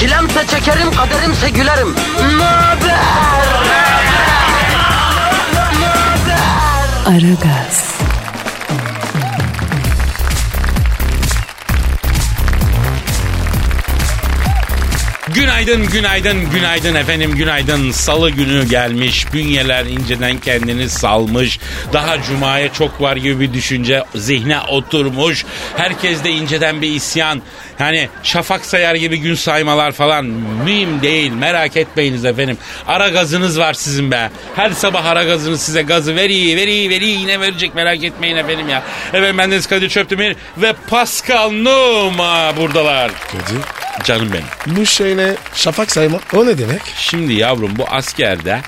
Çilemse çekerim, kaderimse gülerim. Möber! Aragaz, Günaydın, günaydın, günaydın efendim, günaydın. Salı günü gelmiş, bünyeler inceden kendini salmış. Daha cumaya çok var gibi bir düşünce zihne oturmuş. Herkes de inceden bir isyan. Yani şafak sayar gibi gün saymalar falan mühim değil. Merak etmeyiniz efendim. Ara gazınız var sizin be. Her sabah ara gazınız size gazı veriyi, veriyi, veriyi yine verecek. Merak etmeyin efendim ya. Evet ben Deniz Kadir Çöptemir ve Pascal Numa buradalar. Kadir. Canım benim. Bu şeyle şafak sayma o ne demek? Şimdi yavrum bu askerde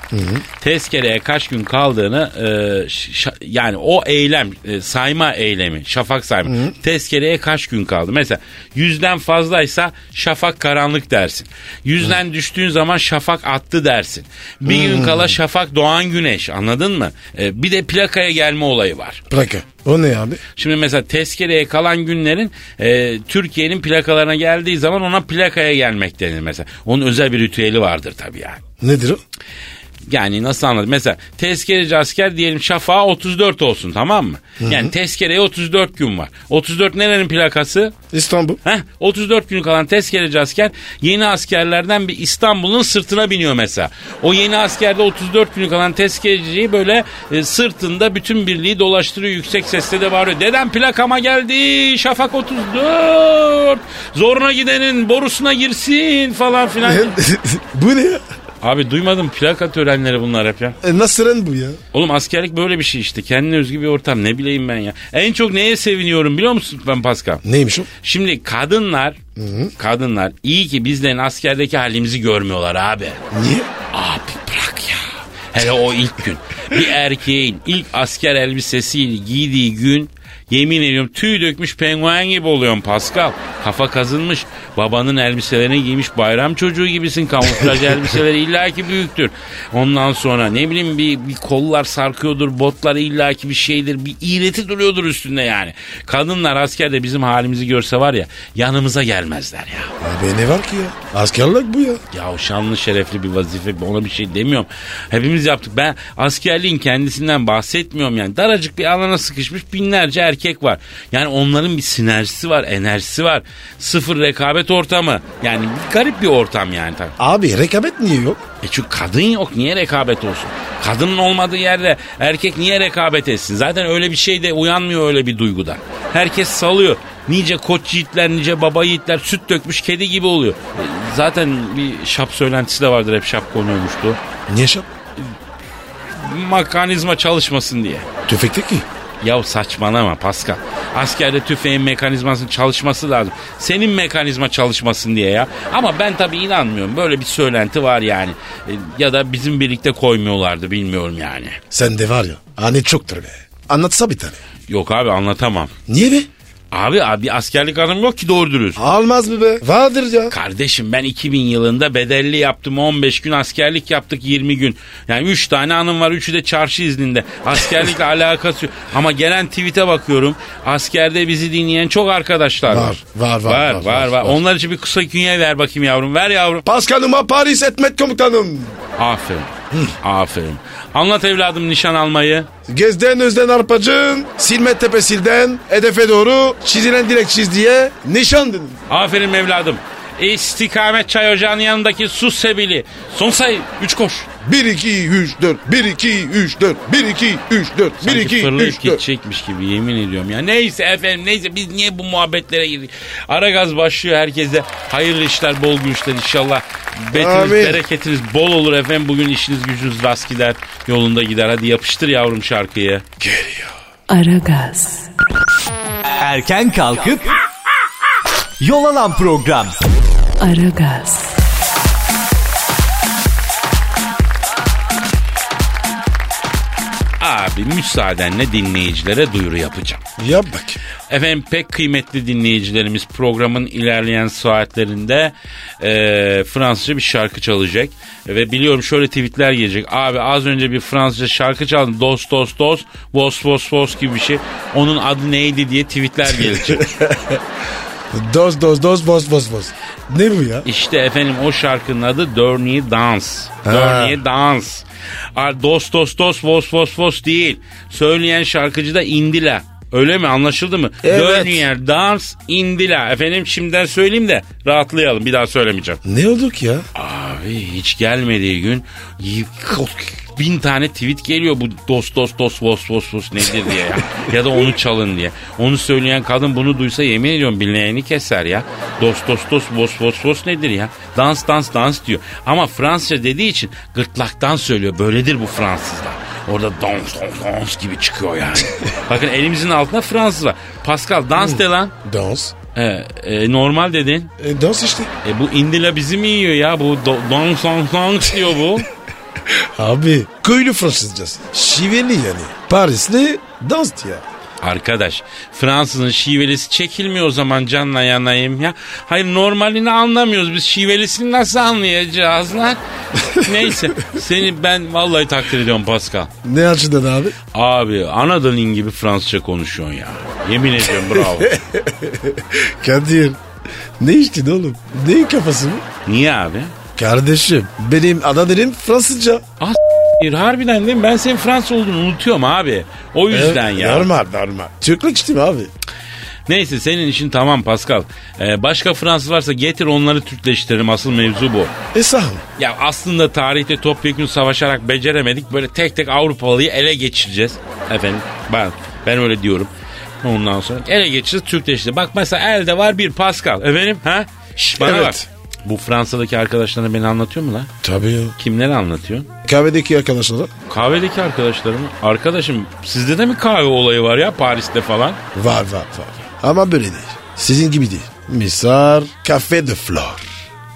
tezkereye kaç gün kaldığını e, ş- şa- yani o eylem e, sayma eylemi şafak sayma tezkereye kaç gün kaldı. Mesela yüzden fazlaysa şafak karanlık dersin. Yüzden düştüğün zaman şafak attı dersin. Bir gün kala şafak doğan güneş anladın mı? E, bir de plakaya gelme olayı var. Plaka. O ne abi? Şimdi mesela tezkereye kalan günlerin e, Türkiye'nin plakalarına geldiği zaman ona plakaya gelmek denir mesela. Onun özel bir ritüeli vardır tabii yani. Nedir o? Yani nasıl anladım? Mesela tezkereci asker diyelim şafağa 34 olsun tamam mı? Yani tezkereye 34 gün var. 34 nerenin plakası? İstanbul. Heh, 34 günü kalan tezkereci asker yeni askerlerden bir İstanbul'un sırtına biniyor mesela. O yeni askerde 34 günü kalan tezkereciyi böyle e, sırtında bütün birliği dolaştırıyor yüksek sesle de bağırıyor. Dedem plakama geldi şafak 34 zoruna gidenin borusuna girsin falan filan. bu ne ya? Abi duymadım plaka törenleri bunlar hep ya. E, nasıl ren bu ya? Oğlum askerlik böyle bir şey işte. Kendine özgü bir ortam ne bileyim ben ya. En çok neye seviniyorum biliyor musun ben Pascal? Neymiş o? Şimdi kadınlar, kadınlar iyi ki bizlerin askerdeki halimizi görmüyorlar abi. Niye? Abi bırak ya. Hele o ilk gün. Bir erkeğin ilk asker elbisesini giydiği gün yemin ediyorum tüy dökmüş penguen gibi oluyorsun Pascal. Kafa kazınmış. Babanın elbiselerini giymiş bayram çocuğu gibisin. Kamuflaj elbiseleri illaki büyüktür. Ondan sonra ne bileyim bir, bir kollar sarkıyordur. Botlar illaki bir şeydir. Bir iğreti duruyordur üstünde yani. Kadınlar askerde bizim halimizi görse var ya yanımıza gelmezler ya. Abi ne var ki ya? Askerlik bu ya. Ya şanlı şerefli bir vazife ona bir şey demiyorum. Hepimiz yaptık. Ben askerliğin kendisinden bahsetmiyorum yani. Daracık bir alana sıkışmış binlerce erkek var. Yani onların bir sinerjisi var, enerjisi var. Sıfır rekabet ortamı. Yani bir garip bir ortam yani tabii. Abi rekabet niye yok? E çünkü kadın yok niye rekabet olsun? Kadının olmadığı yerde erkek niye rekabet etsin? Zaten öyle bir şey de uyanmıyor öyle bir duyguda. Herkes salıyor. Nice koç yiğitler, nice baba yiğitler süt dökmüş kedi gibi oluyor. E, Zaten bir şap söylentisi de vardır hep şap konuyormuştu. Niye şap? Mekanizma çalışmasın diye. Tüfekte ki. Ya saçmalama Pascal. Askerde tüfeğin mekanizmasının çalışması lazım. Senin mekanizma çalışmasın diye ya. Ama ben tabii inanmıyorum. Böyle bir söylenti var yani. E, Ya da bizim birlikte koymuyorlardı bilmiyorum yani. Sen de var ya. Hani çoktur be. Anlatsa bir tane. Yok abi anlatamam. Niye be? Abi abi askerlik anım yok ki doğru dürüst. Almaz mı be? Vardır ya. Kardeşim ben 2000 yılında bedelli yaptım 15 gün askerlik yaptık 20 gün. Yani 3 tane anım var 3'ü de çarşı izninde. Askerlikle alakası yok. Ama gelen tweet'e bakıyorum. Askerde bizi dinleyen çok arkadaşlar Var, var, var, Var var, var, var. var, var. Onlar için bir kısa künye ver bakayım yavrum. Ver yavrum. Paskal'ıma Paris etmet komutanım. Aferin. Aferin. Anlat evladım nişan almayı. Gezden özden arpacın, silme tepesilden, hedefe doğru çizilen direk çizdiye nişan dedim. Aferin evladım. İstikamet çay ocağının yanındaki sus sebili. Son sayı 3 koş. 1 2 3 4 1 2 3 4 1 2 3 4 1 Sanki 2 fırlayıp 3 4 gidecekmiş gibi yemin ediyorum ya. Neyse efendim neyse biz niye bu muhabbetlere girdik? Ara gaz başlıyor herkese. Hayırlı işler, bol güçler inşallah. Betiniz, Amin. bereketiniz bol olur efendim. Bugün işiniz gücünüz rast gider, yolunda gider. Hadi yapıştır yavrum şarkıyı. Aragaz, Erken kalkıp yol alan program. Aragaz, abi müsaadenle dinleyicilere duyuru yapacağım. Yap bak. Efendim pek kıymetli dinleyicilerimiz programın ilerleyen saatlerinde eee, Fransızca bir şarkı çalacak. Ve biliyorum şöyle tweetler gelecek. Abi az önce bir Fransızca şarkı çaldın. Dos dos dos, vos vos vos gibi bir şey. Onun adı neydi diye tweetler gelecek. Doz doz doz boz boz boz. Ne bu ya? İşte efendim o şarkının adı Dörniye Dans. Dörniye Dans. Ar- Dos dos dos vos vos vos değil. Söyleyen şarkıcı da Indila. Öyle mi anlaşıldı mı? Evet. Dörniye Dans Indila. Efendim şimdiden söyleyeyim de rahatlayalım. Bir daha söylemeyeceğim. Ne olduk ya? Abi hiç gelmediği gün y- bin tane tweet geliyor bu dos dos dos vos vos vos nedir diye ya. ya da onu çalın diye. Onu söyleyen kadın bunu duysa yemin ediyorum bileğini keser ya. Dos dos dos vos vos vos nedir ya. Dans dans dans diyor. Ama Fransızca dediği için gırtlaktan söylüyor. Böyledir bu Fransızlar. Orada dans dans dans gibi çıkıyor yani. Bakın elimizin altında Fransız var. Pascal dans de lan. Dans. Ee, e, normal dedin. E, dans işte. E bu indila bizi mi yiyor ya? Bu do- don son son diyor bu. Abi köylü Fransızcası. Şiveli yani. Parisli dans ya. Arkadaş Fransızın şivelesi çekilmiyor o zaman canla yanayım ya. Hayır normalini anlamıyoruz biz şivelesini nasıl anlayacağız lan? Neyse seni ben vallahi takdir ediyorum Pascal. Ne açıdan abi? Abi Anadolu'nun gibi Fransızca konuşuyorsun ya. Yemin ediyorum bravo. Kadir. Ne içtin oğlum? Neyin kafası bu? Niye abi? Kardeşim benim ana dilim Fransızca. Ah s**eyim, harbiden değil mi? Ben senin Fransız olduğunu unutuyorum abi. O yüzden Evet, ya. Normal normal. Türklük içtim abi. Neyse senin işin tamam Pascal. Ee, başka Fransız varsa getir onları Türkleştirelim asıl mevzu bu. E sağ ol. Ya aslında tarihte topyekun savaşarak beceremedik. Böyle tek tek Avrupalıyı ele geçireceğiz. Efendim ben, ben öyle diyorum. Ondan sonra ele geçireceğiz Türkleştireceğiz. Bak mesela elde var bir Pascal. Efendim ha? Şş, bana Evet. bak. Bu Fransa'daki arkadaşlarına beni anlatıyor mu lan? Tabii ya. Kimleri anlatıyor? Kahvedeki arkadaşlara Kahvedeki arkadaşlarım. Arkadaşım sizde de mi kahve olayı var ya Paris'te falan? var var var. Ama böyle değil. Sizin gibi değil. Misal Cafe de Flor.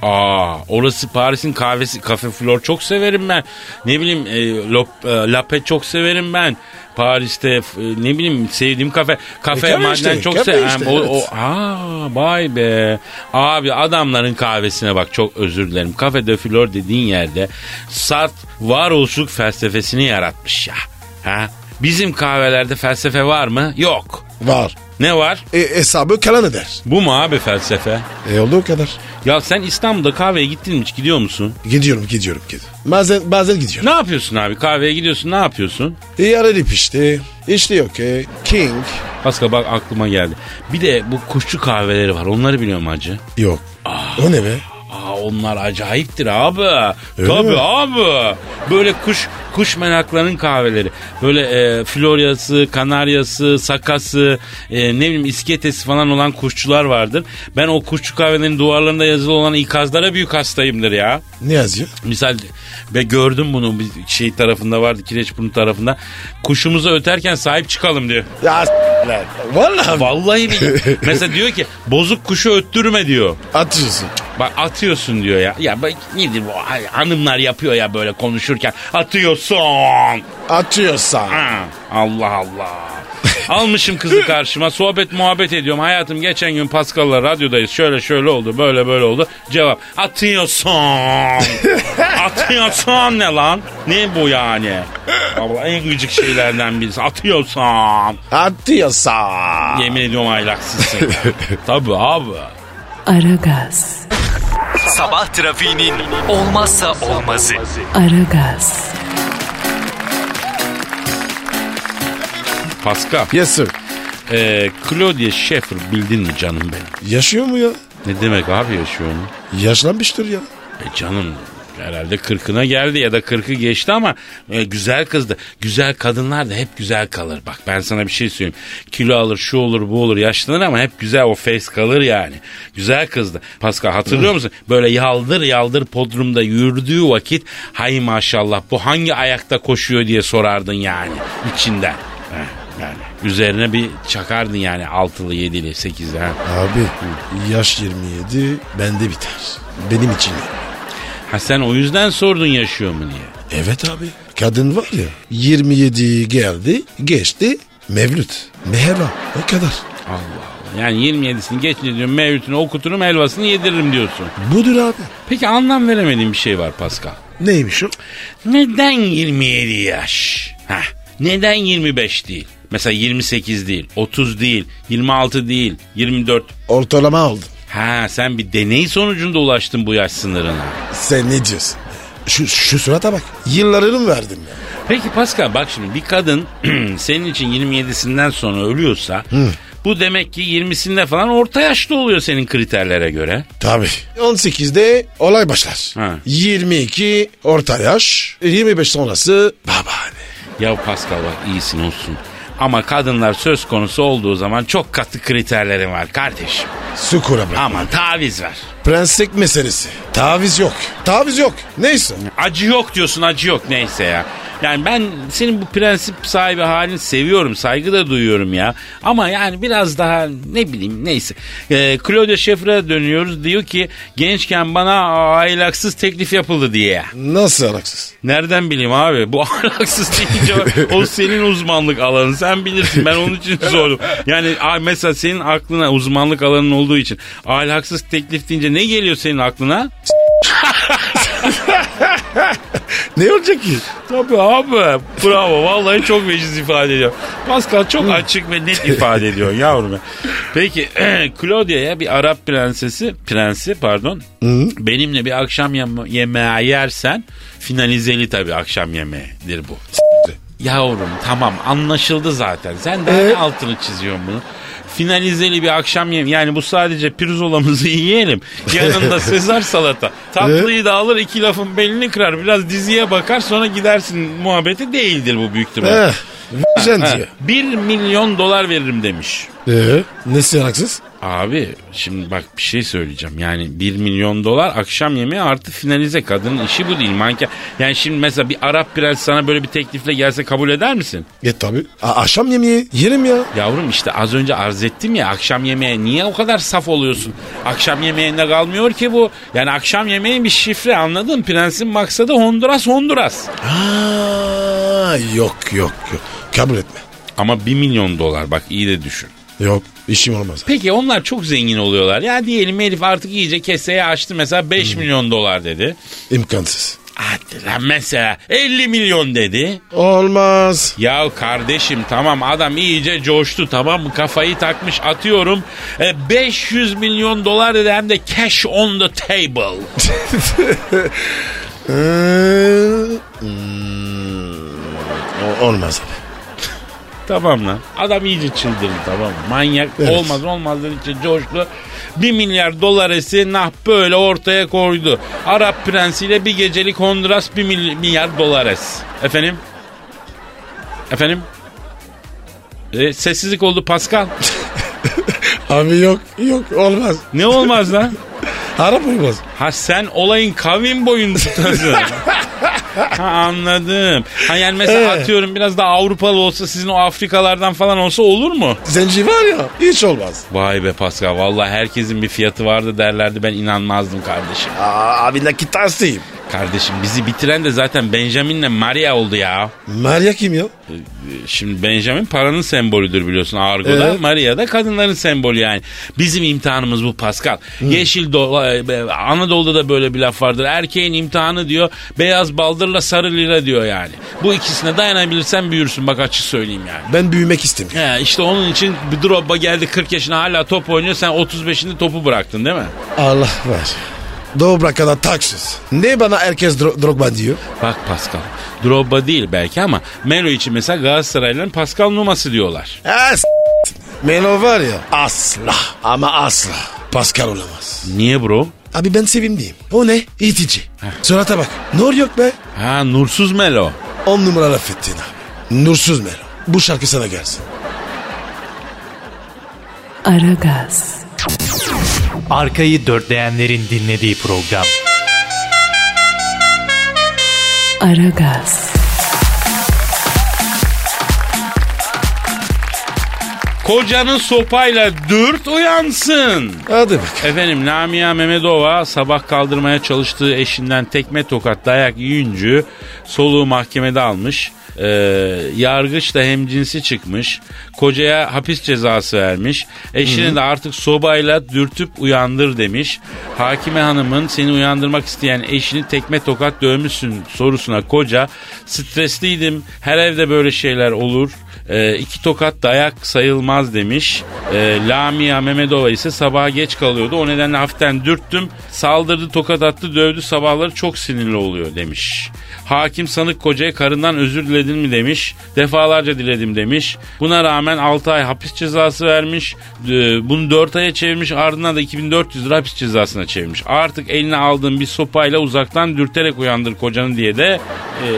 Aa, orası Paris'in kahvesi, kafe flor çok severim ben. Ne bileyim, e, lop, e, lape çok severim ben. Paris'te f- e, ne bileyim sevdiğim kafe, kafe E, kafe maden işte, çok kafe severim. işte, o, evet. o- aa, vay be. Abi adamların kahvesine bak çok özür dilerim. Kafe de flor dediğin yerde Sartre varoluşluk felsefesini yaratmış ya. Ha? Bizim kahvelerde felsefe var mı? Yok. Var. Ne var? E, hesabı kalan eder. Bu mu abi felsefe? E olduğu kadar. Ya sen İstanbul'da kahveye gittin mi hiç gidiyor musun? Gidiyorum gidiyorum gidiyorum. Bazen, bazen gidiyorum. Ne yapıyorsun abi? Kahveye gidiyorsun ne yapıyorsun? E yarın ip işte. İşte yok e. King. Pascal bak aklıma geldi. Bir de bu kuşçu kahveleri var. Onları biliyor musun hacı? Yok. O ne be? Aa onlar acayiptir abi. Öyle Tabii mi? abi. Böyle kuş kuş menaklarının kahveleri. Böyle e, Florya'sı, Kanarya'sı, Sakası, e, ne bileyim İsketesi falan olan kuşçular vardır. Ben o kuşçu kahvelerin duvarlarında yazılı olan ikazlara büyük hastayımdır ya. Ne yazıyor? Misal ve gördüm bunu bir şey tarafında vardı Kireçburnu tarafında. Kuşumuzu öterken sahip çıkalım diyor. Ya s- lan. Vallahi Vallahi billahi. Mesela diyor ki bozuk kuşu öttürme diyor. atıyorsun. Bak atıyorsun diyor ya. Ya bak nedir bu? Ay, Hanımlar yapıyor ya böyle konuşurken. Atıyorsun. Atıyorsan. Ha, Allah Allah. Almışım kızı karşıma sohbet muhabbet ediyorum. Hayatım geçen gün Pascal'la radyodayız. Şöyle şöyle oldu böyle böyle oldu. Cevap atıyorsun. atıyorsun ne lan? Ne bu yani? Allah en gıcık şeylerden birisi. Atıyorsun. Atıyorsan. Yemin ediyorum aylaksızsın. Tabii abi. Aragaz, Sabah trafiğinin olmazsa olmazı. Aragaz, Pascal. Yes sir. Ee, Claudia Schiffer bildin mi canım benim? Yaşıyor mu ya? Ne demek abi yaşıyor onu? Yaşlanmıştır ya. E canım herhalde kırkına geldi ya da kırkı geçti ama e, güzel kızdı. Güzel kadınlar da hep güzel kalır. Bak ben sana bir şey söyleyeyim. Kilo alır, şu olur, bu olur, yaşlanır ama hep güzel o face kalır yani. Güzel kızdı. Pascal hatırlıyor musun? Böyle yaldır yaldır podrumda yürüdüğü vakit hay maşallah bu hangi ayakta koşuyor diye sorardın yani içinden. Heh, Yani üzerine bir çakardın yani altılı, yedili, sekizli. Ha. Abi yaş 27 bende biter. Benim için. ha sen o yüzden sordun yaşıyor mu diye. Evet abi. Kadın var ya 27 geldi geçti Mevlüt. Mehra o kadar. Yani 27'sini geçince diyorum mevlütünü okuturum helvasını yediririm diyorsun. Budur abi. Peki anlam veremediğim bir şey var Pascal. Neymiş o? Neden 27 yaş? Heh, neden 25 değil? Mesela 28 değil, 30 değil, 26 değil, 24. Ortalama aldı. Ha sen bir deney sonucunda ulaştın bu yaş sınırına. Sen ne diyorsun? Şu, şu surata bak. Yıllarını mı verdin ya? Peki Pascal bak şimdi bir kadın senin için 27'sinden sonra ölüyorsa bu demek ki 20'sinde falan orta yaşlı oluyor senin kriterlere göre. Tabii. 18'de olay başlar. Ha. 22 orta yaş. 25 sonrası babaanne. Ya Pascal bak iyisin olsun. Ama kadınlar söz konusu olduğu zaman çok katı kriterlerim var kardeşim. Sukura bırak. Aman taviz ver. Prenslik meselesi. Taviz yok. Taviz yok. Neyse. Acı yok diyorsun acı yok neyse ya. Yani ben senin bu prensip sahibi halini seviyorum saygı da duyuyorum ya. Ama yani biraz daha ne bileyim neyse. Ee, Claudia Schiffer'a dönüyoruz diyor ki gençken bana aylaksız teklif yapıldı diye. Nasıl alaksız? Nereden bileyim abi bu ahlaksız deyince o senin uzmanlık alanın sen bilirsin ben onun için sordum. Yani a- mesela senin aklına uzmanlık alanın olduğu için ahlaksız teklif deyince ne geliyor senin aklına? Ne olacak ki? Tabii abi bravo vallahi çok veciz ifade ediyor. Pascal çok açık ve net ifade ediyor yavrum. ya. Peki Claudia'ya bir Arap prensesi prensi pardon benimle bir akşam yeme- yemeği yersen finalizeli tabii akşam yemeğidir bu. Yavrum tamam anlaşıldı zaten. Sen daha ne altını çiziyorsun bunu. Finalizeli bir akşam yemeği. Yani bu sadece pirzolamızı yiyelim. Yanında sezar salata. Tatlıyı da alır iki lafın belini kırar. Biraz diziye bakar sonra gidersin muhabbeti değildir bu büyük ihtimal. Eh, Sen diyor. 1 milyon dolar veririm demiş. Ee, nesi alaksız? Abi şimdi bak bir şey söyleyeceğim. Yani 1 milyon dolar akşam yemeği artı finalize kadının işi bu değil. Manken. Yani şimdi mesela bir Arap prens sana böyle bir teklifle gelse kabul eder misin? E tabi. A- akşam yemeği yerim ya. Yavrum işte az önce arz ettim ya akşam yemeğe niye o kadar saf oluyorsun? Akşam yemeğinde kalmıyor ki bu. Yani akşam yemeği bir şifre anladın? Prensin maksadı Honduras Honduras. Aa, yok yok yok. Kabul etme. Ama 1 milyon dolar bak iyi de düşün. Yok işim olmaz. Peki onlar çok zengin oluyorlar. Ya diyelim herif artık iyice keseye açtı mesela 5 milyon dolar dedi. İmkansız. Hadi lan mesela 50 milyon dedi. Olmaz. Ya kardeşim tamam adam iyice coştu tamam mı kafayı takmış atıyorum. E, 500 milyon dolar dedi hem de cash on the table. Ee, hmm, o- olmaz abi. tamam lan. Adam iyice çıldırdı tamam mı? Manyak Evet. olmaz olmaz dedikçe coştu. 1 milyar dolaresi nah böyle ortaya koydu. Arap prensiyle bir gecelik Honduras 1 milyar dolaresi. Efendim? Efendim? E, sessizlik oldu Pascal. Abi yok yok olmaz. Ne olmaz lan? Arap olmaz. Ha sen olayın kavim boyundasın. ha anladım. Ha yani mesela Evet. atıyorum biraz daha Avrupalı olsa sizin o Afrikalardan falan olsa olur mu? Zenci var ya hiç olmaz. Vay be Pascal vallahi herkesin bir fiyatı vardı derlerdi ben inanmazdım kardeşim. Aa, abi nakit taslayayım. Kardeşim bizi bitiren de zaten Benjamin'le Maria oldu ya. Maria kim ya? Şimdi Benjamin paranın sembolüdür biliyorsun argoda. Evet. Maria da kadınların sembolü yani. Bizim imtihanımız bu Pascal. Yeşil dola, Anadolu'da da böyle bir laf vardır. Erkeğin imtihanı diyor beyaz baldırla sarı lira diyor yani. Bu ikisine dayanabilirsen büyürsün bak açık söyleyeyim yani. Ben büyümek istemiyorum. He, işte onun için bir Drogba geldi 40 yaşına hala top oynuyor. Sen 35'inde topu bıraktın değil mi? Allah var. Dobra kadar taksız. Ne bana herkes dro- Drogba diyor? Bak Pascal. Drogba değil belki ama Melo için mesela Galatasaraylıların Pascal numası diyorlar. Ha, s- Melo var ya asla ama asla Pascal olamaz. Niye bro? Abi ben sevimliyim. O ne? İtici. Surata bak. Nur yok be. Ha nursuz Melo. On numara laf ettin abi. Nursuz Melo. Bu şarkı sana gelsin. Aragaz, Arkayı dörtleyenlerin dinlediği program. Aragaz, Kocanın sopayla dürt uyansın. Hadi bak. Efendim Lamia Mehmetova sabah kaldırmaya çalıştığı eşinden tekme tokat dayak yiyince Soluğu mahkemede almış. Ee, yargıç da hemcinsi çıkmış. Kocaya hapis cezası vermiş. Eşini de artık sobayla dürtüp uyandır demiş. Hakime hanımın seni uyandırmak isteyen eşini tekme tokat dövmüşsün sorusuna koca stresliydim her evde böyle şeyler olur. E, iki tokat dayak sayılmaz demiş. E, Lamia Mehmetova ise sabaha geç kalıyordu. O nedenle hafiften dürttüm. Saldırdı, tokat attı, dövdü. Sabahları çok sinirli oluyor demiş. Hakim sanık kocaya karından özür diledin mi demiş. Defalarca diledim demiş. Buna rağmen 6 ay hapis cezası vermiş. E, bunu 4 aya çevirmiş. Ardından da 2400 lira hapis cezasına çevirmiş. Artık eline aldığın bir sopayla uzaktan dürterek uyandır kocanı diye de e,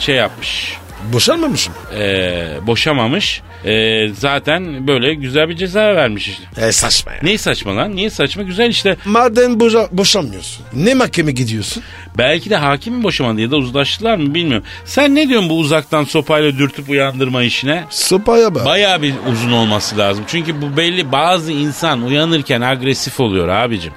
şey yapmış Boşanmamışım. e, boşamamış. E, zaten böyle güzel bir ceza vermiş işte. E saçma ya. Ne saçma lan? Niye saçma? Güzel işte. Madem boşa, boşanmıyorsun. Ne mahkeme gidiyorsun? Belki de hakim mi boşamadı ya da uzlaştılar mı bilmiyorum. Sen ne diyorsun bu uzaktan sopayla dürtüp uyandırma işine? Sopaya bak. Bayağı bir uzun olması lazım. Çünkü bu belli bazı insan uyanırken agresif oluyor abicim.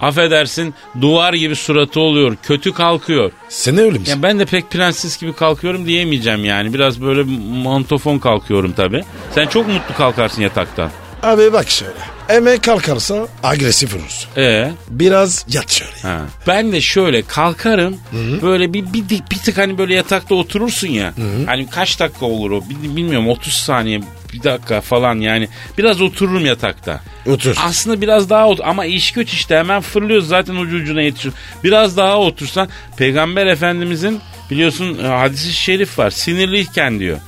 Affedersin duvar gibi suratı oluyor. Kötü kalkıyor. Sen ne öyle misin? Ya ben de pek prenses gibi kalkıyorum diyemeyeceğim yani. Biraz böyle mantofon kalkıyorum tabii. Sen çok mutlu kalkarsın yataktan. Abi bak şöyle. Emek kalkarsa agresif olursun. Ee, Biraz yat şöyle. ha. Ben de şöyle kalkarım böyle bir, bir bir tık hani böyle yatakta oturursun ya. Hani kaç dakika olur o Bil- bilmiyorum 30 saniye bir dakika falan yani. Biraz otururum yatakta. Otur. Aslında biraz daha otur ama iş güç işte hemen fırlıyoruz zaten ucu ucuna yetişiyor. Biraz daha otursan Peygamber Efendimizin biliyorsun e, hadisi şerif var sinirliyken diyor.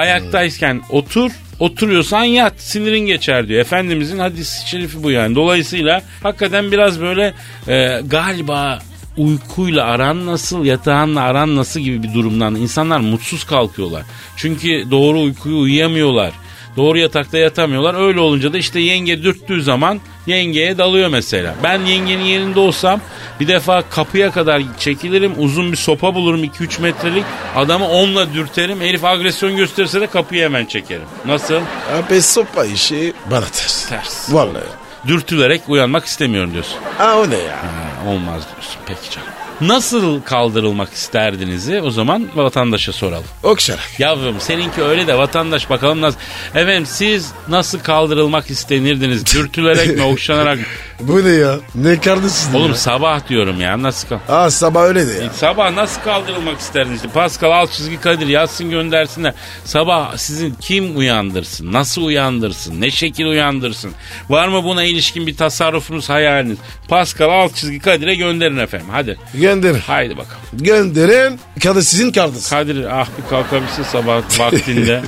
Ayaktayken otur oturuyorsan yat sinirin geçer diyor. Efendimizin hadisi şerifi bu yani. Dolayısıyla hakikaten biraz böyle e, galiba uykuyla aran nasıl, yatağınla aran nasıl gibi bir durumdan insanlar mutsuz kalkıyorlar. Çünkü doğru uykuyu uyuyamıyorlar. Doğru yatakta yatamıyorlar. Öyle olunca da işte yenge dürttüğü zaman yengeye dalıyor mesela. Ben yengenin yerinde olsam bir defa kapıya kadar çekilirim. Uzun bir sopa bulurum 2-3 metrelik. Adamı onunla dürterim. Herif agresyon gösterirse de kapıyı hemen çekerim. Nasıl? Abi sopa işi bana ters. Ters. Vallahi. Dürtülerek uyanmak istemiyorum diyorsun. Ha o ne ya? Ha, olmaz diyorsun. Peki canım. Nasıl kaldırılmak isterdinizi o zaman vatandaşa soralım. Okşarak. Yavrum seninki öyle de vatandaş bakalım nasıl. Efendim siz nasıl kaldırılmak istenirdiniz? Dürtülerek mi okşanarak mı? Bu ne ya? Ne kardeşsin Oğlum ya? sabah diyorum ya nasıl kal- Aa sabah öyle de ya. Sabah nasıl kaldırılmak isterdiniz? Pascal al çizgi Kadir yazsın göndersinler. Sabah sizin kim uyandırsın? Nasıl uyandırsın? Ne şekil uyandırsın? Var mı buna ilişkin bir tasarrufunuz hayaliniz? Pascal al çizgi Kadir'e gönderin efendim hadi. Gönderin. Haydi bakalım. Gönderin. Kardeş sizin kardeş. Kadir ah bir kalkabilsin sabah vaktinde.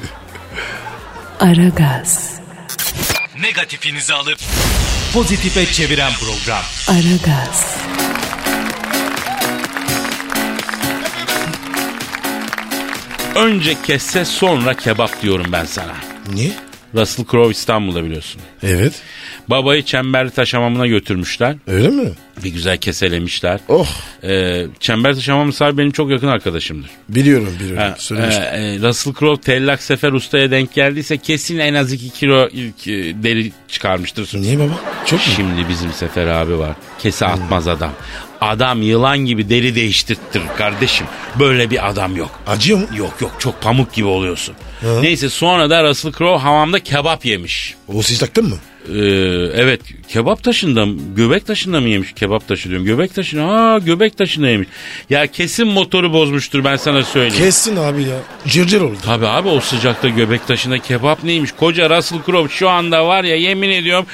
Aragaz, Negatifinizi alıp pozitife çeviren program. Aragaz, Önce kesse sonra kebap diyorum ben sana. Niye? Russell Crowe İstanbul'da biliyorsun. Evet. Babayı çemberli taş hamamına götürmüşler. Öyle mi? Bir güzel keselemişler. Oh Ee, çemberli taş hamamı sahibi benim çok yakın arkadaşımdır. biliyorum biliyorum. Ha, Söylemiş. e, e, Russell Crowe tellak sefer ustaya denk geldiyse kesin en az 2 kilo ilk, e, deri çıkarmıştır. Niye baba? Çok mu? Şimdi bizim Sefer abi var. Kese atmaz adam. Adam yılan gibi deri değiştirttir kardeşim. Böyle bir adam yok. Acıyor mu? Yok yok çok pamuk gibi oluyorsun. Neyse sonra da Russell Crowe hamamda kebap yemiş. O siz taktın mı? Ee, evet kebap taşında mı- göbek taşında mı yemiş kebap taşı diyorum. Göbek taşına ha göbek taşında yemiş. Ya kesin motoru bozmuştur ben sana söyleyeyim. Kessin abi ya. Cırcır oldu. Tabii abi o sıcakta göbek taşında kebap neymiş? Koca Russell Crowe şu anda var ya yemin ediyorum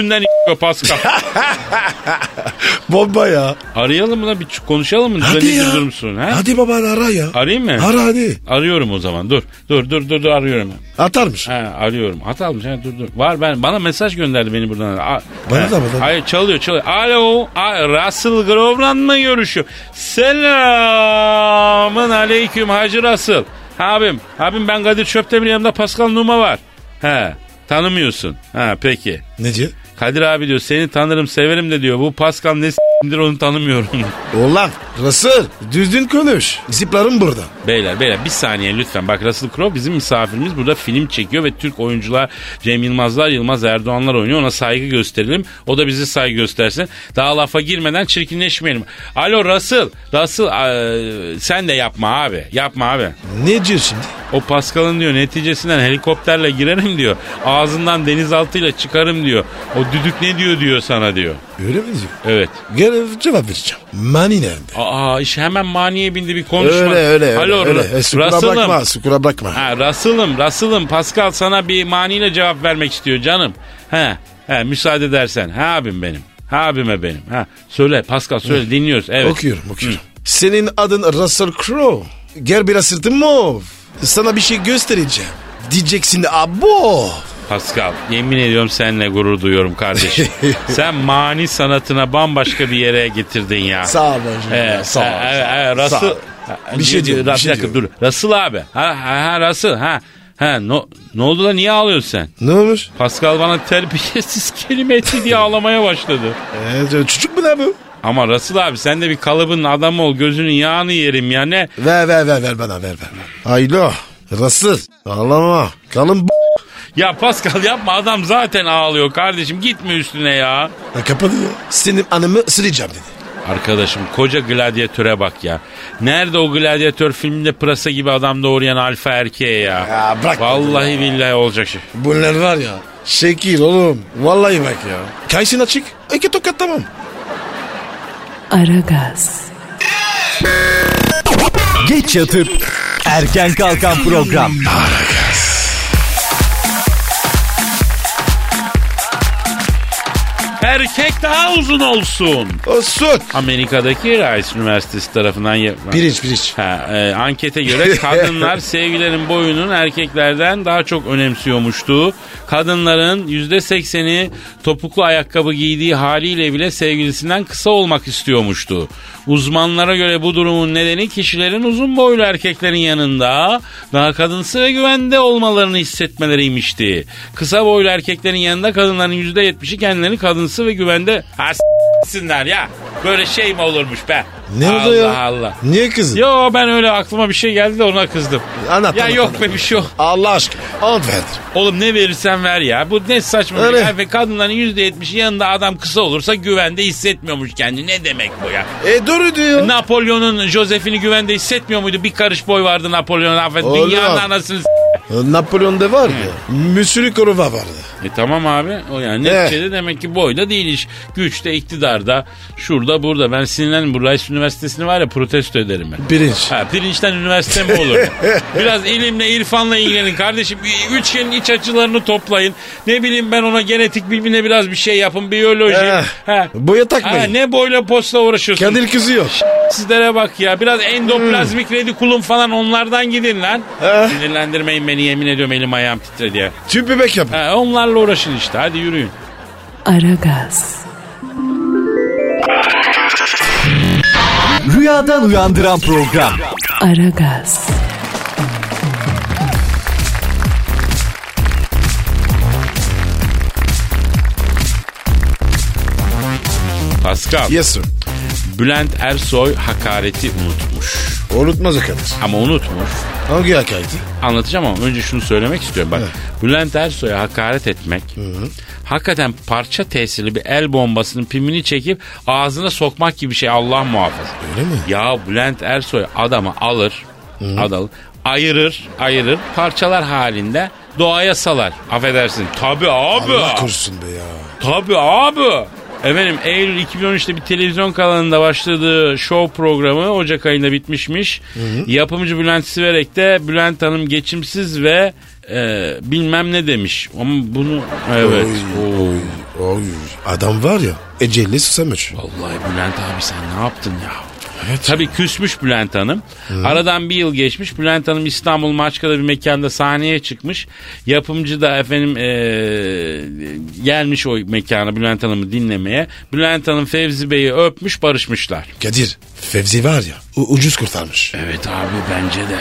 ünden Pascal. Bomba ya. Arayalım mı lan bir ç- konuşalım mı? Hadi Düzenli ya. durdur musun? Ha? Hadi baba ara ya. Arayayım mı? Ara hadi. Arıyorum o zaman dur. Dur dur dur, dur arıyorum. Atarmış. Ha, arıyorum. Hat almış. Ha, dur dur. Var ben bana mesaj gönderdi beni buradan. A- Bana Ha, da, bana da. Hayır çalıyor çalıyor. Alo. A- Russell Grove'la mı görüşüyorum? Selamın aleyküm Hacı Russell. Ha, abim. Abim ben Kadir Çöptemir yanımda Pascal Numa var. He. Tanımıyorsun. Ha peki. Ne diyor? Kadir abi diyor seni tanırım severim de diyor. Bu Pascal ne s**imdir onu tanımıyorum. Oğlan Russell düzgün konuş. Ziplarım burada. Beyler beyler bir saniye lütfen. Bak Russell Crowe bizim misafirimiz. Burada film çekiyor ve Türk oyuncular Cem Yılmazlar, Yılmaz Erdoğanlar oynuyor. Ona saygı gösterelim. O da bize saygı göstersin. Daha lafa girmeden çirkinleşmeyelim. Alo Russell. Russell eee, sen de yapma abi. Yapma abi. Ne diyor şimdi? O Pascal'ın diyor neticesinden helikopterle girerim diyor. Ağzından denizaltıyla çıkarım diyor. O düdük ne diyor diyor sana diyor. Öyle mi diyor? Evet. Gel cevap vereceğim. Mani nerede? Aa iş hemen maniye bindi bir konuşma. Öyle öyle. Alo öyle, öyle. Ru- E, sukura Russell'ım. bırakma, sukura bırakma. Ha Russell'ım Russell'ım Pascal sana bir maniyle cevap vermek istiyor canım. He, he müsaade edersen. Ha abim benim. Ha abime benim. Ha söyle Pascal söyle dinliyoruz. Evet. Okuyorum okuyorum. Senin adın Russell Crowe. Gel biraz sırtım mov. Sana bir şey göstereceğim. Diyeceksin abo. Pascal yemin ediyorum seninle gurur duyuyorum kardeşim. Sen mani sanatına bambaşka bir yere getirdin ya. Sağ ol. Ee, Sağ ol. e, e, e, sağ ol, Russell- sağ ol. Ha, Bir şey diyorum, bir şey dakika, diyorum. Dur. Russell abi. Ha ha, ha Russell ha. Ha no- ne oldu da niye ağlıyorsun sen? Ne olmuş? Pascal bana terbiyesiz kelime etti diye ağlamaya başladı. Ee, çocuk mu ne bu? Ama Russell abi sen de bir kalıbın adamı ol gözünün yağını yerim ya ne? Ver ver ver ver bana ver ver. Aylo. Russell. Ağlama. Kalın b***. Ya Pascal yapma adam zaten ağlıyor kardeşim gitme üstüne ya. Lan kapadı ya. Senin anımı sileceğim dedi. Arkadaşım koca gladyatöre bak ya. Nerede o gladyatör filminde pırasa gibi adam doğrayan alfa erkeğe ya. Ya bırak Vallahi billahi olacak şey. Bunlar var ya. Şekil oğlum. Vallahi bak ya. Kayısın açık. İki tokat tamam. Aragaz, Geç yatıp erken kalkan program. Erkek daha uzun olsun. O süt. Amerika'daki Rice Üniversitesi tarafından yapılan. Pirinç pirinç. Ha, e, ankete göre kadınlar sevgilerin boyunun erkeklerden daha çok önemsiyormuştu. Kadınların %80'i topuklu ayakkabı giydiği haliyle bile sevgilisinden kısa olmak istiyormuştu. Uzmanlara göre bu durumun nedeni kişilerin uzun boylu erkeklerin yanında daha kadınsı ve güvende olmalarını hissetmeleriymişti. Kısa boylu erkeklerin yanında kadınların %70'i kendilerini kadınsı ve güvende... Ha, s**sinler ya. Böyle şey mi olurmuş be? Ne Allah oldu ya? Allah. Niye kızın? Yo ben öyle aklıma bir şey geldi de ona kızdım. Anlat, Ya anlat, yok anlat. be bir şey yok. Allah aşkına. Al verdim. Oğlum ne verirsen ver ya. Bu ne saçma Öyle. bir şey. Ve Kadınların %70'i yanında adam kısa olursa güvende hissetmiyormuş kendini. Ne demek bu ya? E doğru diyor. Napolyon'un Josef'ini güvende hissetmiyor muydu? Bir karış boy vardı Napolyon'un affet. Oğlum. Dünyanın anasını s- Ee, Napolyon'da var ya. Müsülü koruva vardı. E tamam abi. O yani Evet. neticede demek ki boyla değil iş. Güçte, iktidarda, şurada, burada. Ben sinirlendim. Bu Rice Üniversitesi'ni var ya protesto ederim ben. Pirinç. Ha, pirinçten üniversite mi olur? Biraz ilimle, irfanla ilgilenin kardeşim. Üçgenin iç açılarını toplayın. Ne bileyim ben ona genetik bilmine biraz bir şey yapın. Biyoloji. Eh, Ha. boya Ha, takmayın. ne boyla posta uğraşıyorsun? Kadir kızıyor. Sizlere bak ya. Biraz Hmm. endoplazmik redikulum falan onlardan gidin lan. Eh. Sinirlendirmeyin beni yemin ediyorum elim ayağım titredi ya. Tüm bebek yapın. Ha, onlarla uğraşın işte. Hadi yürüyün. Aragaz, Rüyadan uyandıran program. Aragaz, Pascal. Yes sir. Bülent Ersoy hakareti unutmuş. Unutmaz o kadar. Ama unutmuş. Hangi hakareti? anlatacağım ama önce şunu söylemek istiyorum. Bak Bülent Ersoy'a hakaret etmek hakikaten parça tesirli bir el bombasının pimini çekip ağzına sokmak gibi bir şey Allah muhafaza. Öyle mi? Ya Bülent Ersoy adamı alır, adal, ayırır, ayırır, parçalar halinde doğaya salar. Affedersin. Tabii abi. Allah korusun be ya. Tabii abi. Efendim Eylül 2013'te bir televizyon kanalında başladığı show programı Ocak ayında bitmişmiş. Yapımcı Bülent Siverek de Bülent Hanım geçimsiz ve e, bilmem ne demiş. Ama bunu evet. Oy, oy, oy. Adam var ya. Ecelle susamış. Vallahi Bülent abi sen ne yaptın ya? Tabii küsmüş Bülent Hanım. Aradan bir yıl geçmiş. Bülent Hanım İstanbul Maçka'da bir mekanda sahneye çıkmış. Yapımcı da efendim eee, gelmiş o mekana Bülent Hanım'ı dinlemeye. Bülent Hanım Fevzi Bey'i öpmüş barışmışlar. Kadir. Fevzi var ya. u- ucuz kurtarmış. Evet abi bence de.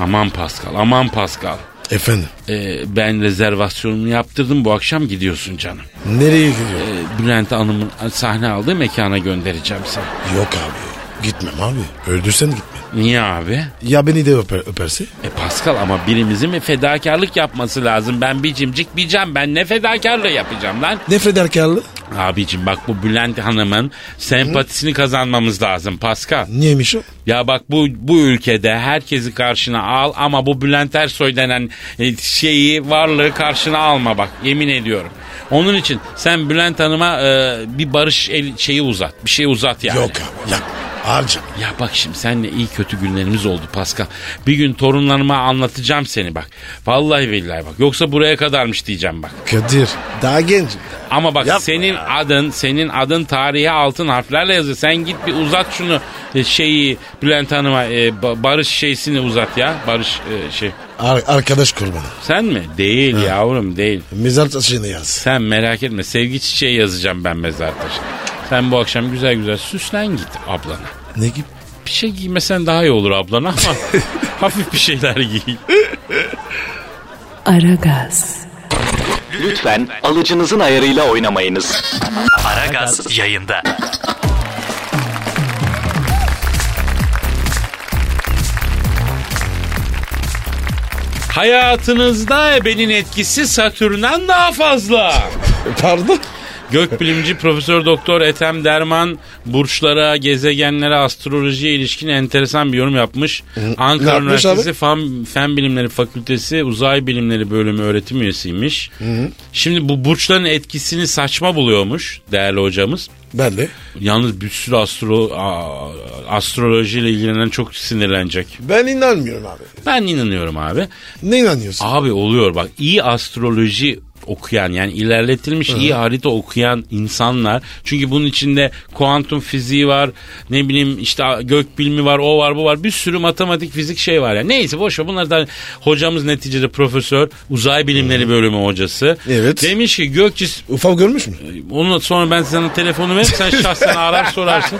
Aman Pascal aman Pascal. Efendim. Eee, ben rezervasyonumu yaptırdım bu akşam gidiyorsun canım. Nereye gidiyor? E- Eee, Bülent Hanım'ın sahne aldığı mekana göndereceğim seni. Yok abi. Gitmem abi. Öldürsen de gitmem. Niye abi? Ya beni de öper, öperse? E Pascal ama birimizin bir fedakarlık yapması lazım. Ben bir cimcik bir cam. Ben ne fedakarlığı yapacağım lan? Ne fedakarlı? Abicim bak bu Bülent Hanım'ın sempatisini kazanmamız lazım Pascal. Niyeymiş o? Ya bak bu bu ülkede herkesi karşına al ama bu Bülent Ersoy denen e, şeyi varlığı karşına alma bak yemin ediyorum. Onun için sen Bülent Hanım'a e, bir barış el, şeyi uzat. Bir şey uzat yani. Yok abi. Yap. Harca. Ya bak şimdi seninle iyi kötü günlerimiz oldu Pascal. Bir gün torunlarıma anlatacağım seni bak. Vallahi billahi bak. Yoksa buraya kadarmış diyeceğim bak. Kadir. Daha genç. Ama bak Yapma senin adın senin adın tarihe altın harflerle yazıyor. Sen git bir uzat şunu e, şeyi Bülent Hanım'a e, ba- barış şeysini uzat ya. Barış e, şey. Ar- arkadaş kurbanı. Sen mi? Değil yavrum değil. Mezar taşını yaz. Sen merak etme sevgi çiçeği yazacağım ben mezar taşına. Sen bu akşam güzel güzel süslen git ablana. Ne gibi? Bir şey giymesen daha iyi olur ablana ama hafif bir şeyler giy. Aragaz, Lütfen alıcınızın ayarıyla oynamayınız. Aragaz yayında. Hayatınızda ebenin etkisi Satürn'den daha fazla. Pardon. Gökbilimci Profesör Doktor Ethem Derman burçlara, gezegenlere, astrolojiye ilişkin enteresan bir yorum yapmış. Ankara yapmış Üniversitesi Fen, Fen Bilimleri Fakültesi Uzay Bilimleri Bölümü öğretim üyesiymiş. Şimdi bu burçların etkisini saçma buluyormuş değerli hocamız. Ben de. Yalnız bir sürü astro, a- astrolojiyle ilgilenen çok sinirlenecek. Ben inanmıyorum abi. Ben inanıyorum abi. Ne inanıyorsun? Abi oluyor bak iyi astroloji okuyan yani ilerletilmiş iyi harita okuyan insanlar çünkü bunun içinde kuantum fiziği var ne bileyim işte gök bilimi var o var bu var bir sürü matematik fizik şey var yani neyse boş ver bunlar da hocamız neticede profesör uzay bilimleri bölümü hocası Evet. demiş ki gök cis Ufak görmüş mü? onu sonra ben sana telefonu veririm sen şahsen arar sorarsın.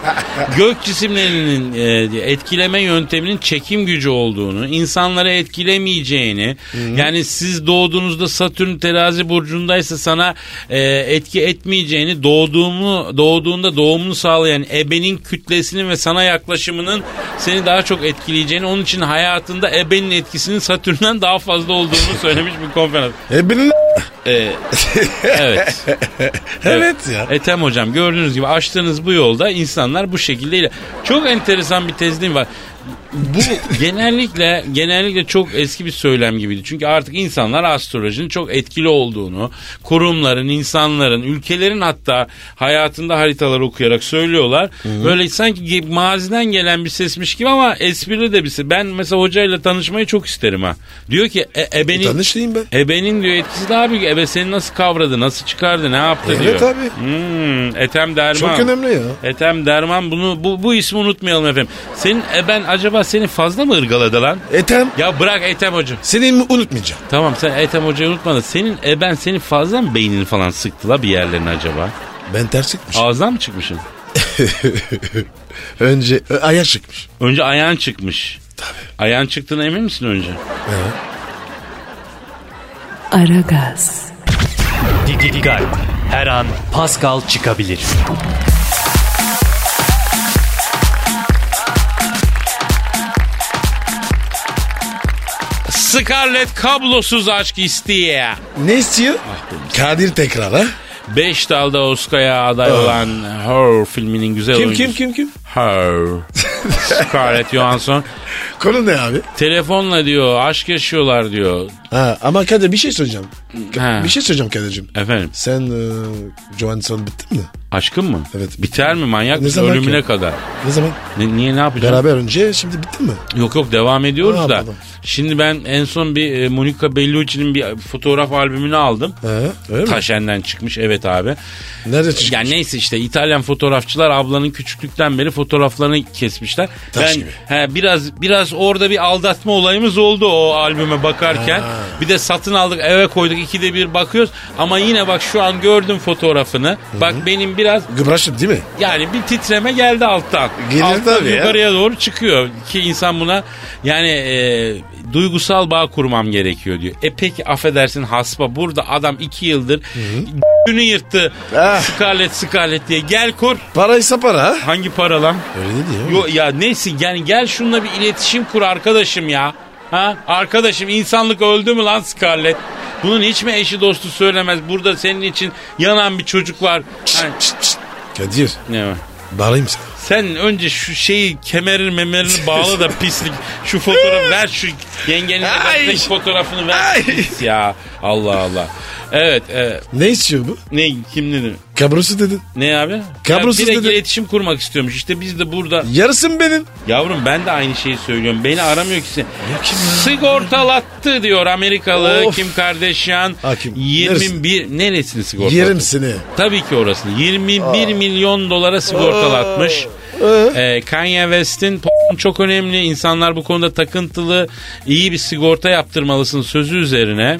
Gök cisimlerinin e, etkileme yönteminin çekim gücü olduğunu, insanları etkilemeyeceğini, yani siz doğduğunuzda Satürn terazi burcundaysa sana e, etki etmeyeceğini, doğduğunu doğduğunda doğumunu sağlayan ebenin kütlesinin ve sana yaklaşımının seni daha çok etkileyeceğini, onun için hayatında ebenin etkisinin Satürn'den daha fazla olduğunu söylemiş bir konferans. E benim... E, evet. Evet ya. Ethem E, hocam gördüğünüz gibi açtığınız bu yolda insanlar bu şekilde ile- Çok enteresan bir tezliğim var. Bu genellikle genellikle çok eski bir söylem gibiydi. Çünkü artık insanlar astrolojinin çok etkili olduğunu, kurumların, insanların, ülkelerin hatta hayatında haritaları okuyarak söylüyorlar. Böyle sanki ge- maziden gelen bir sesmiş gibi ama esprili de bir ses. Ben mesela hocayla tanışmayı çok isterim ha. Diyor ki e, ebenin Tanıştayım ben. Ebenin diyor etkisi daha büyük. Ebe seni nasıl kavradı, nasıl çıkardı, ne yaptı diyor. Evet abi. Hmm, Ethem Derman. Çok önemli ya. Ethem Derman bunu bu, bu ismi unutmayalım efendim. Senin eben acaba seni fazla mı ırgaladı lan? Etem Ya bırak Ethem Hoca. E, seni mi unutmayacağım? Tamam sen Ethem Hoca'yı unutma da senin eben seni fazla mı beynini falan sıktı la bir yerlerine acaba? Ben ters çıkmış. Ağızdan mı çıkmışsın? Önce e, ayağa çıkmış. Önce ayağın çıkmış. Tabii. Ayağın çıktığına emin misin önce? Evet. Aragaz, Didi Gal. Her an Pascal çıkabilir. Scarlett kablosuz aşk isteye. Ne istiyor? Kadir tekrar ha? Beş dalda Oscar'a aday olan Her filminin güzel Ah. Kim oyuncusu. kim kim kim? Her. Scarlett Johansson. Konu ne abi? Telefonla diyor aşk yaşıyorlar diyor. Ha, ama Kadir bir şey söyleyeceğim. Ka- Ha. Bir şey söyleyeceğim Kadir'cim. Efendim Sen e, Johansson bittin mi? aşkın mı? Evet. Biter mi manyak Ne mısın zaman ki? ölümüne kadar? Ne zaman? Ne- niye ne yapacağız? Beraber önce şimdi bittin mi? Yok yok devam ediyoruz Ne da. yapalım? Şimdi ben en son bir e, Monica Bellucci'nin bir fotoğraf albümünü aldım. Ha, öyle mi? Taşen'den çıkmış evet abi. Nerede çıktı? Yani neyse işte İtalyan fotoğrafçılar ablanın küçüklükten beri fotoğraflarını kesmişler. Taş ben gibi. he, biraz biraz orada bir aldatma olayımız oldu o albüme bakarken. Bir de satın aldık eve koyduk ikide bir bakıyoruz. Ama yine bak şu an gördüm fotoğrafını. Bak benim biraz Gıbraşım değil mi? yani bir titreme geldi alttan. Gelir alttan tabii ya. yukarıya doğru çıkıyor. Ki insan buna yani e, duygusal bağ kurmam gerekiyor diyor. E peki affedersin haspa burada adam iki yıldır günü yırttı. Ah. Scarlett Scarlett diye gel kur. Paraysa para. Hangi para lan? Öyle değil ya. Yo, ya neyse yani gel şununla bir iletişim kur arkadaşım ya. Ha? Arkadaşım insanlık öldü mü lan Scarlett? Bunun hiç mi eşi dostu söylemez? Burada senin için yanan bir çocuk var. Ha, Çıt çıt. Kadir ne var? bağırayım sana. Sen önce şu şeyi kemerin memerini bağla da pislik. Şu fotoğrafı ver şu yengenin de Ay. baktaki fotoğrafını ver. Ay. Pis ya. Allah Allah. Evet. e, Ne istiyor bu? ne kim dedi? Kabrosu dedin. Ne abi? Kabrosuz Ya, direkt dedi. iletişim kurmak istiyormuş. İşte biz de burada. Yarısı mı benim? Yavrum ben de aynı şeyi söylüyorum. Beni aramıyor ki sen. Sigortalattı diyor Amerikalı Of. Kim Kardashian. Hakim, 21 neresini sigortaladı? Yerim seni. Tabii ki orasını. 21 milyon dolara sigortalatmış. Ee, Kanye West'in p- çok önemli. İnsanlar bu konuda takıntılı. iyi bir sigorta yaptırmalısın sözü üzerine.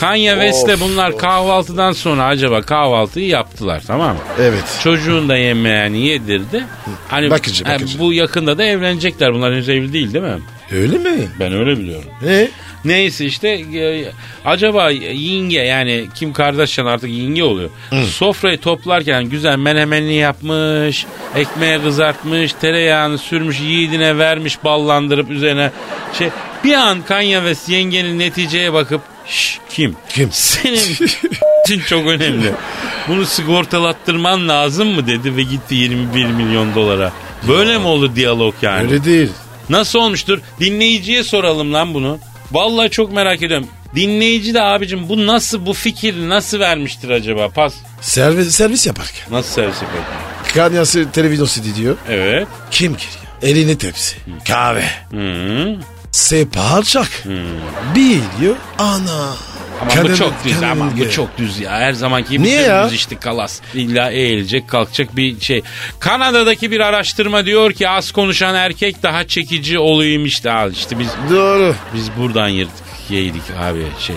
Kanye West'le bunlar kahvaltıdan sonra acaba kahvaltıyı yaptılar tamam mı? Evet. Çocuğun da yemeğini yedirdi. Hani Bakıcı, ha, bakıcı. bu yakında da evlenecekler. Bunlar henüz evli değil değil mi? Öyle mi? Ben öyle biliyorum. E? Neyse işte e, acaba yenge yani Kim Kardashian artık yenge oluyor. Sofrayı toplarken güzel menemenli yapmış, ekmeği kızartmış, tereyağını sürmüş, yiğidine vermiş ballandırıp üzerine şey bir an Kanye West yengenin neticeye bakıp "Şş, kim? Kim? Senin için çok önemli. Bunu sigortalattırman lazım mı dedi ve gitti 21 milyon dolara. Böyle mi olur diyalog yani? Öyle değil. Nasıl olmuştur? Dinleyiciye soralım lan bunu. Vallahi çok merak ediyorum. Dinleyici de abicim bu nasıl bu fikir nasıl vermiştir acaba? Pas. Servis, servis yaparken. Nasıl servis yapıyor? Kanyası televizyon CD diyor. Evet. Kim giriyor? Elini tepsi. Hmm. Kahve. Hı. Sepalçak. Bir diyor. Ana. Hmm. Ama bu Kadın- çok düz kadın ama bu geliyor. çok düz ya. Her zamanki gibi Niye ya? düz işte kalas. İlla eğilecek kalkacak bir şey. Kanada'daki bir araştırma diyor ki az konuşan erkek daha çekici oluyormuş da al işte biz Doğru. biz buradan yırttık yedik abi şey.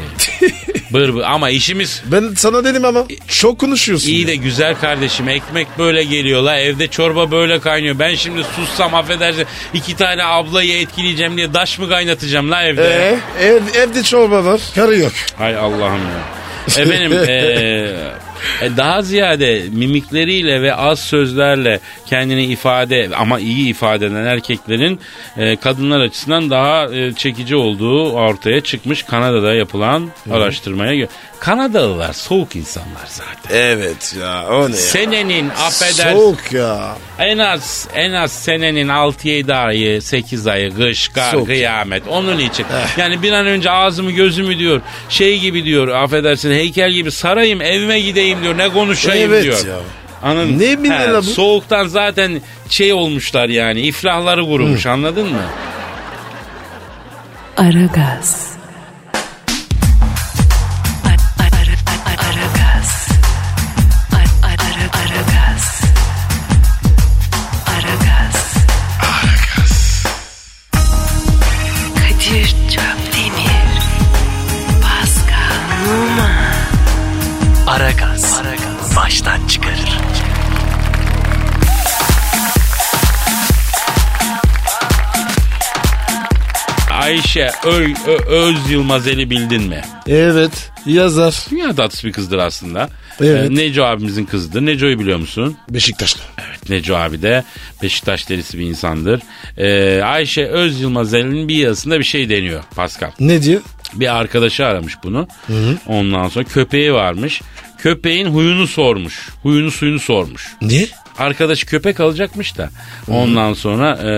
bır bır ama işimiz Ben sana dedim ama çok konuşuyorsun. İyi ya. de güzel kardeşim ekmek böyle geliyor la evde çorba böyle kaynıyor. Ben şimdi sussam affedersin iki tane ablayı etkileyeceğim diye daş mı kaynatacağım la evde? Ee, ev, evde çorba var. Karı yok. Hay Allah'ım ya. Efendim eee, e, daha ziyade mimikleriyle ve az sözlerle kendini ifade ama iyi ifade eden erkeklerin e, kadınlar açısından daha e, çekici olduğu ortaya çıkmış Kanada'da yapılan araştırmaya göre. Kanadalılar soğuk insanlar zaten. Evet ya o ne ya? Senenin affedersin Soğuk ya. En az en az senenin 6-7 ayı, 8 ayı, kış, kar, Soğuk. Eh. kıyamet. Onun için. Yani bir an önce ağzımı gözümü diyor, şey gibi diyor, affedersin heykel gibi sarayım, evime gideyim diyor, ne konuşayım Evet diyor. ya. Anladın? Ne He, bileyim la bu? Soğuktan zaten şey olmuşlar yani, iflahları kurumuş anladın mı? Aragaz. Ara- ara- ara- Aragaz. Ara- ara- Aragaz. Aragaz. Kadir Çöpdemir. Pascal Numa. Aragaz. Baştan çıkarır. Ayşe Ö- Ö- Öz Yılmazeli bildin mi? Evet yazar. Dünya tatlısı bir kızdır aslında. Evet. Ee, Neco abimizin kızıdır. Neco'yu biliyor musun? Beşiktaşlı. Neco abi de Beşiktaş derisi bir insandır. Ee, Ayşe Öz Yılmaz Ali'nin bir yazısında bir şey deniyor Pascal. Ne diyor? Bir arkadaşı aramış bunu. Ondan sonra köpeği varmış. Köpeğin huyunu sormuş. Huyunu suyunu sormuş. Ne? Arkadaşı köpek alacakmış da. Ondan sonra e,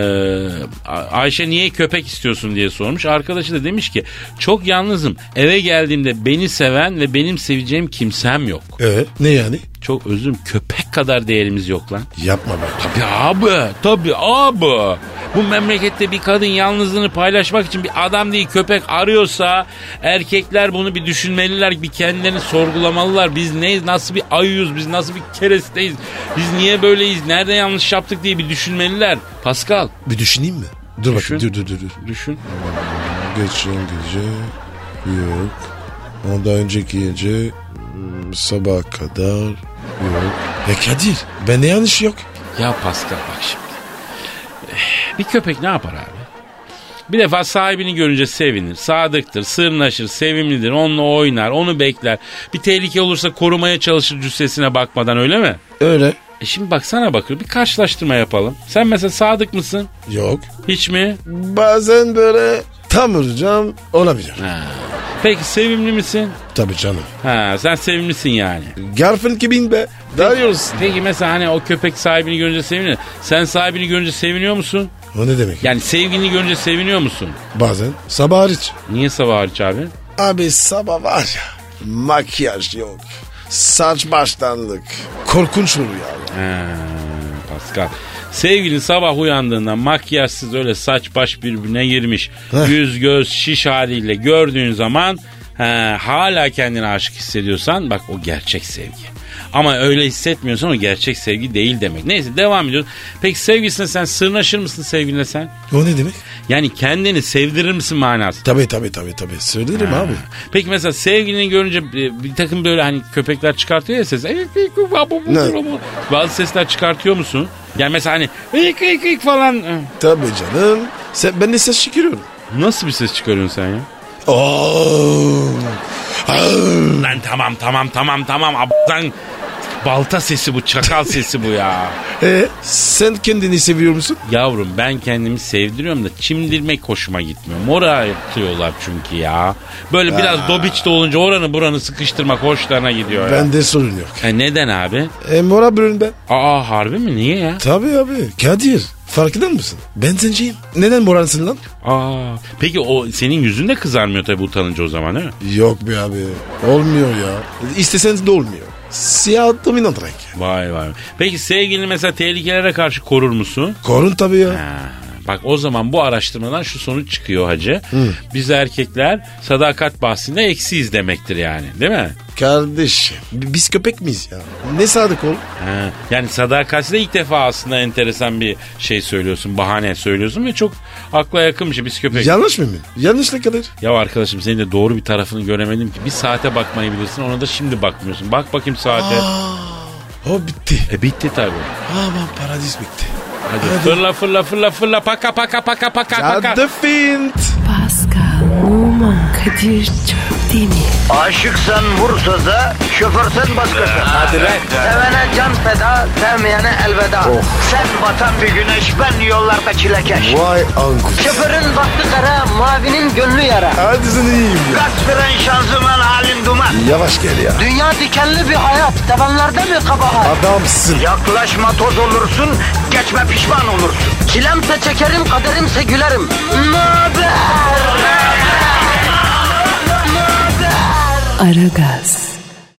Ay- Ayşe niye köpek istiyorsun diye sormuş. Arkadaşı da demiş ki çok yalnızım. Eve geldiğimde beni seven ve benim seveceğim kimsem yok. Ee, ne yani? Çok özüm köpek kadar değerimiz yok lan. Yapma be. Tabii abi, tabii abi. Bu memlekette bir kadın yalnızlığını paylaşmak için bir adam değil köpek arıyorsa erkekler bunu bir düşünmeliler, bir kendilerini sorgulamalılar. Biz neyiz, nasıl bir ayıyız, biz nasıl bir keresteyiz, biz niye böyleyiz, nerede yanlış yaptık diye bir düşünmeliler. Pascal, Bir düşüneyim mi? Dur bakayım Düşün. dur dur dur. dur. düşün. Geçen gece Yok. Ondan önceki gece hmm, sabaha kadar yok. Ya Kadir bende yanlış yok. Ya Pascal bak şimdi. Eh, Bir köpek ne yapar abi? Bir defa sahibini görünce sevinir, sadıktır, sırnaşır, sevimlidir, onunla oynar, onu bekler. Bir tehlike olursa korumaya çalışır cüssesine bakmadan öyle mi? Öyle. E şimdi baksana bakır bir karşılaştırma yapalım. Sen mesela sadık mısın? Yok. Hiç mi? Bazen böyle tam vuracağım olabilir. Peki sevimli misin? Tabii canım. Ha sen sevimlisin yani. Garfield gibiyim be. Darıyorsun. Peki mesela hani o köpek sahibini görünce sevinir. Sen sahibini görünce seviniyor musun? O ne demek? Yani sevgilini görünce seviniyor musun? Bazen sabah hariç. Niye sabah hariç abi? Abi sabah var ya makyaj yok. Saç baştanlık. Korkunç oluyor ya. Ha, Pascal. Sevgilin sabah uyandığında makyajsız öyle saç baş birbirine girmiş. Heh. Yüz göz şiş haliyle gördüğün zaman ha, hala kendini aşık hissediyorsan bak o gerçek sevgi. Ama öyle hissetmiyorsan o gerçek sevgi değil demek. Neyse devam ediyoruz. Peki sevgilisine sen sırnaşır mısın sevgiline sen? O ne demek? Yani kendini sevdirir misin manası? Tabii tabii tabii tabii. Söylerim abi. Peki mesela sevgilini görünce e, bir takım böyle hani köpekler çıkartıyor ya ses. "Eyk, eyk, bu, bu, bu, Ne? bu, bu." Bazı sesler çıkartıyor musun? Yani mesela hani "Eyk, eyk, eyk" falan. e, Tabii canım. Sen, ben de ses çıkarıyorum. Nasıl bir ses çıkarıyorsun sen ya? Oo. Oh. Aa. Lan tamam tamam tamam tamam abdan balta sesi bu çakal sesi bu ya. E, sen kendini seviyor musun? Yavrum ben kendimi sevdiriyorum da çimdirmek hoşuma gitmiyor. Mora atıyorlar çünkü ya. Böyle biraz dobiç de olunca oranı buranı sıkıştırmak hoşlarına gidiyor ya. Bende sorun yok. E neden abi? E, mora bürün ben. Aa harbi mi? Niye ya? Tabii abi. Kadir. Farkında mısın? Ben zenciyim. Neden moralsın lan? Aa, peki o senin yüzün de kızarmıyor tabii utanınca o zaman değil mi? Yok be abi. Olmuyor ya. İsteseniz de olmuyor. Siyah dominant renk. Vay vay. Peki sevgilini mesela tehlikelere karşı korur musun? Korun tabii ya. Ha, Bak o zaman bu araştırmadan şu sonuç çıkıyor hacı. Biz erkekler sadakat bahsinde eksiyiz demektir yani değil mi? Kardeşim. bi- Biz köpek miyiz ya? Ne sadık ol? Ha, yani sadakatsi de ilk defa aslında enteresan bir şey söylüyorsun, bahane söylüyorsun ve çok akla yakın bir şey. Biz köpek. Ya, Yanlış mı mı? Yanlış ne kadar? arkadaşım senin de doğru bir tarafını göremedim ki. Bir saate bakmayı bilirsin ona da şimdi bakmıyorsun. Bak bakayım saate. O bitti. E bitti tabii. Aman paradis bitti. Hadi fırla fırla fırla fırla paka paka paka paka paka. Adı fint. Pascal, Oman, Kadir çok değil mi? Aşıksan vursa da, şoförsen başkasın. Hadi lan. Sevene can feda, sevmeyene elveda. Sen batan bir güneş, ben yollarda çilekeş. Vay anku. Şoförün baktı kara, mavinin gönlü yara. Hadi sen iyiyim ya. Kasperen şanzıman halin duman. Yavaş gel ya. Dünya dikenli bir hayat, sevenlerde mi kabahar? Adamsın. Yaklaşma toz olursun, geçme pişman olursun. Çilemse çekerim, kaderimse gülerim. Möber! Aragaz.